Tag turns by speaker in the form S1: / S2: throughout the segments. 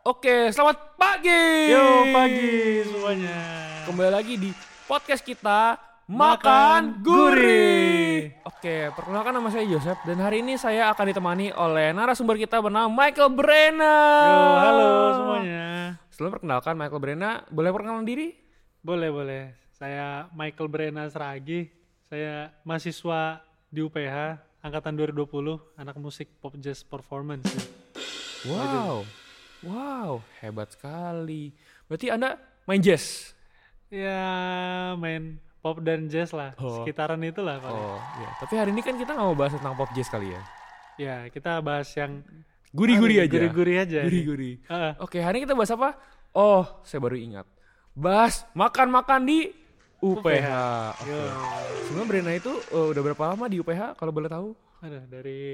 S1: Oke, selamat pagi.
S2: Yo pagi semuanya.
S1: Kembali lagi di podcast kita Makan
S2: Makan
S1: Gurih.
S2: Gurih.
S1: Oke, perkenalkan nama saya Yosep dan hari ini saya akan ditemani oleh narasumber kita bernama Michael Brena.
S2: Yo halo semuanya.
S1: Sebelum perkenalkan Michael Brena, boleh perkenalan diri?
S2: Boleh boleh. Saya Michael Brena Seragi. Saya mahasiswa di UPH angkatan 2020 anak musik pop jazz performance.
S1: Wow. Wow, hebat sekali. Berarti Anda main jazz.
S2: ya main pop dan jazz lah.
S1: Oh.
S2: Sekitaran itulah paling.
S1: Oh, ya. Tapi hari ini kan kita nggak mau bahas tentang pop jazz kali ya.
S2: Ya kita bahas yang
S1: Gurih-gurih aja.
S2: Gurih-gurih aja.
S1: Gurih-gurih.
S2: Heeh.
S1: Oke, hari ini kita bahas apa? Oh, saya baru ingat. Bahas makan-makan di UPH. Oke.
S2: Yo.
S1: Sebenarnya Brena itu eh, udah berapa lama di UPH kalau boleh tahu?
S2: Aduh, dari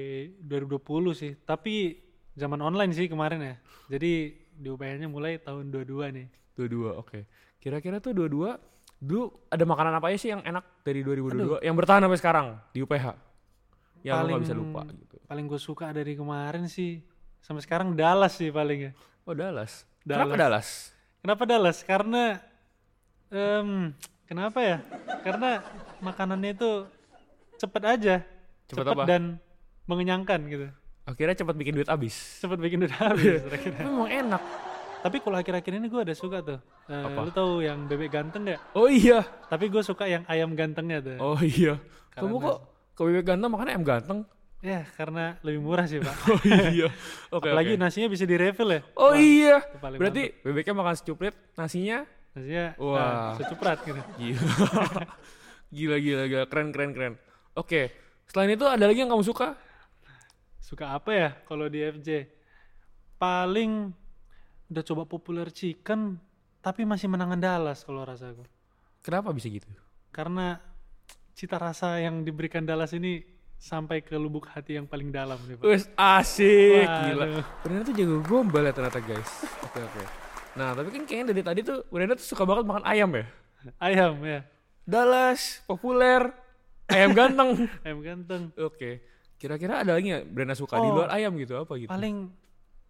S2: 2020 sih. Tapi zaman online sih kemarin ya. Jadi di UPH-nya mulai tahun 22 nih.
S1: Dua-dua, oke. Kira-kira tuh dua-dua, dulu ada makanan apa aja sih yang enak dari 2022 yang bertahan sampai sekarang di UPH? Yang lu nggak bisa
S2: Paling-
S1: lupa gitu.
S2: Paling gue suka dari kemarin sih. Sampai sekarang Dallas sih paling ya.
S1: Oh, Dallas.
S2: Dallas.
S1: Kenapa Dallas?
S2: Kenapa Dallas? Karena em, kenapa ya? Karena makanannya itu cepet aja.
S1: Cepet apa?
S2: dan mengenyangkan gitu.
S1: Akhirnya cepat bikin duit habis.
S2: Cepet bikin udah habis. kira-kira.
S1: Tapi memang enak.
S2: Tapi kalau akhir-akhir ini gue ada suka tuh. Eh,
S1: Apa?
S2: Lu tahu yang bebek ganteng gak?
S1: Oh iya.
S2: Tapi gue suka yang ayam gantengnya tuh.
S1: Oh iya. Kamu
S2: Karena-
S1: kok ke bebek ganteng makan ayam ganteng?
S2: Ya, karena lebih murah sih, Pak.
S1: Oh iya. Oke.
S2: Apalagi
S1: oke.
S2: nasinya bisa di-refill ya.
S1: Oh iya.
S2: itu paling
S1: Berarti bebeknya makan secuplit, nasinya
S2: Nasinya
S1: Wah.
S2: nah, secuprat gitu.
S1: gila. gila gila gila keren keren keren. Oke. Selain itu ada lagi yang kamu suka?
S2: Suka apa ya kalau di FJ? Paling udah coba popular chicken tapi masih menangan Dallas kalau rasaku.
S1: Kenapa bisa gitu?
S2: Karena cita rasa yang diberikan Dallas ini sampai ke lubuk hati yang paling dalam nih, Pak.
S1: Wes asik
S2: Waduh.
S1: gila. Brenda tuh jago gombal ya ternyata guys. Oke oke. Nah tapi kan kayaknya dari tadi tuh Brenda tuh suka banget makan ayam ya.
S2: Ayam ya,
S1: Dallas populer ayam ganteng.
S2: ayam ganteng.
S1: oke. Kira-kira ada lagi nggak Brenda suka di
S2: Oh.
S1: luar ayam gitu apa gitu?
S2: Paling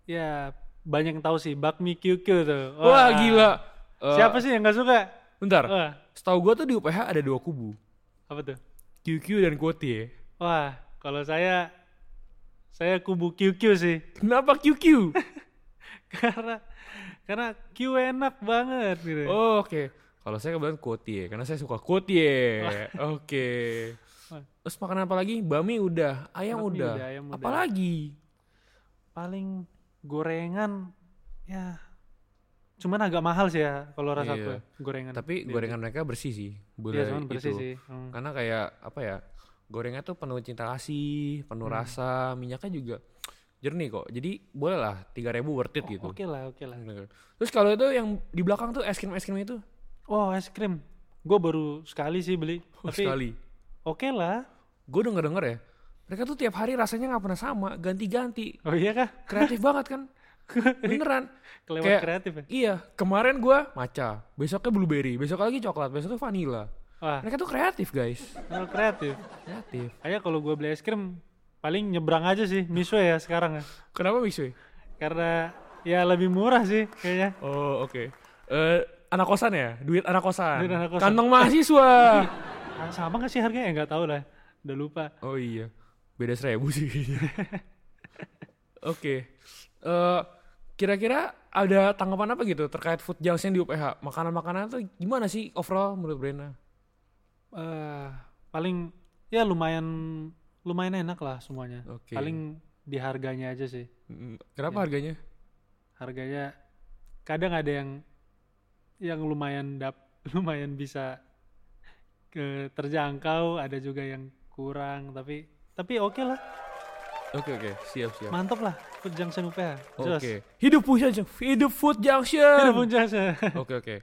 S2: ya banyak yang tahu sih bakmi QQ tuh.
S1: Wah gila. Eh,
S2: Siapa sih yang nggak suka?
S1: Bentar.
S2: Wah,
S1: Setahu gua tuh di UPH ada dua kubu.
S2: apa tuh?
S1: QQ dan Kuoti ya.
S2: Wah, kalau saya saya kubu QQ sih.
S1: Kenapa QQ?
S2: karena karena Q enak banget gitu.
S1: oh, Oke. Kalau saya kebetulan Kuoti ya, karena saya suka Kuoti ya. Oke.
S2: Wah.
S1: Terus makan apa lagi? Bami udah, ayam
S2: Bami
S1: udah.
S2: udah, ayam udah.
S1: Apalagi?
S2: Paling gorengan ya cuman agak mahal sih ya kalau rasa
S1: Iya.
S2: gue gorengan.
S1: Tapi
S2: Iya.
S1: gorengan mereka bersih sih.
S2: Iya,
S1: Boleh
S2: cuman bersih
S1: itu.
S2: sih. Hmm.
S1: Karena kayak apa ya? Gorengnya tuh penuh cinta kasih,
S2: Hmm.
S1: penuh rasa, minyaknya juga jernih kok. Jadi boleh lah 3000 worth it
S2: Oh,
S1: gitu.
S2: Oke lah, oke lah.
S1: Terus kalau itu yang di belakang tuh es krim-es krim itu
S2: Oh, es krim. Gue baru sekali sih beli.
S1: Oh,
S2: tapi oke
S1: sekali.
S2: lah.
S1: Gue denger-denger ya, mereka tuh tiap hari rasanya nggak pernah sama, ganti-ganti.
S2: Oh iya kah?
S1: kreatif banget kan beneran
S2: Kelewat
S1: Kayak-
S2: kreatif ya.
S1: iya kemarin gua maca besoknya blueberry besok lagi coklat besoknya vanilla
S2: Wah,
S1: mereka tuh kreatif guys
S2: kelewat kreatif.
S1: kreatif
S2: Kayak kalau gue beli es krim paling nyebrang aja sih Miswe ya sekarang ya.
S1: kenapa Mixway?
S2: Karena ya lebih murah sih kayaknya.
S1: oh oke Eh, anak kosan ya duit anak kosan,
S2: Duit anak kosan.
S1: kantong mahasiswa
S2: Ah, sama gak sih harganya? Ya nggak tahu lah. Udah lupa.
S1: oh iya beda seribu sih kayaknya. oke Eh kira-kira ada tanggapan apa gitu terkait food junk di UPH makanan-makanan tuh gimana sih overall menurut Brenda
S2: Eh, paling ya lumayan lumayan enak lah semuanya.
S1: Oke.
S2: Paling di harganya aja sih.
S1: Mm, kenapa harganya
S2: Harganya kadang ada yang yang lumayan dap lumayan bisa ke terjangkau, ada juga yang kurang tapi tapi oke lah.
S1: oke oke siap siap
S2: Mantap lah Food Junction UPH.
S1: Oke. Hidup Food Junction. Hidup Food Junction.
S2: Tidak pun jasa.
S1: Oke oke.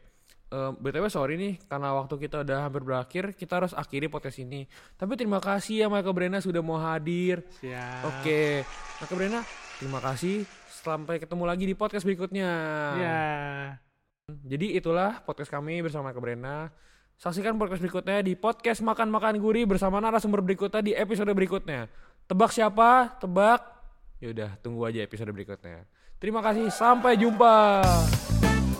S1: Eh, Em, BTW sorry nih karena waktu kita udah hampir berakhir, kita harus akhiri podcast ini. Tapi terima kasih ya Michael Brena sudah mau hadir.
S2: Siap.
S1: Oke. Michael Brena, terima kasih. Sampai ketemu lagi di podcast berikutnya.
S2: Ya.
S1: Jadi itulah podcast kami bersama Michael Brena. Saksikan podcast berikutnya di podcast Makan Makan Gurih bersama narasumber berikutnya di episode berikutnya. Tebak Ya siapa? Tebak Yaudah, tunggu aja episode berikutnya. Terima kasih, sampai jumpa.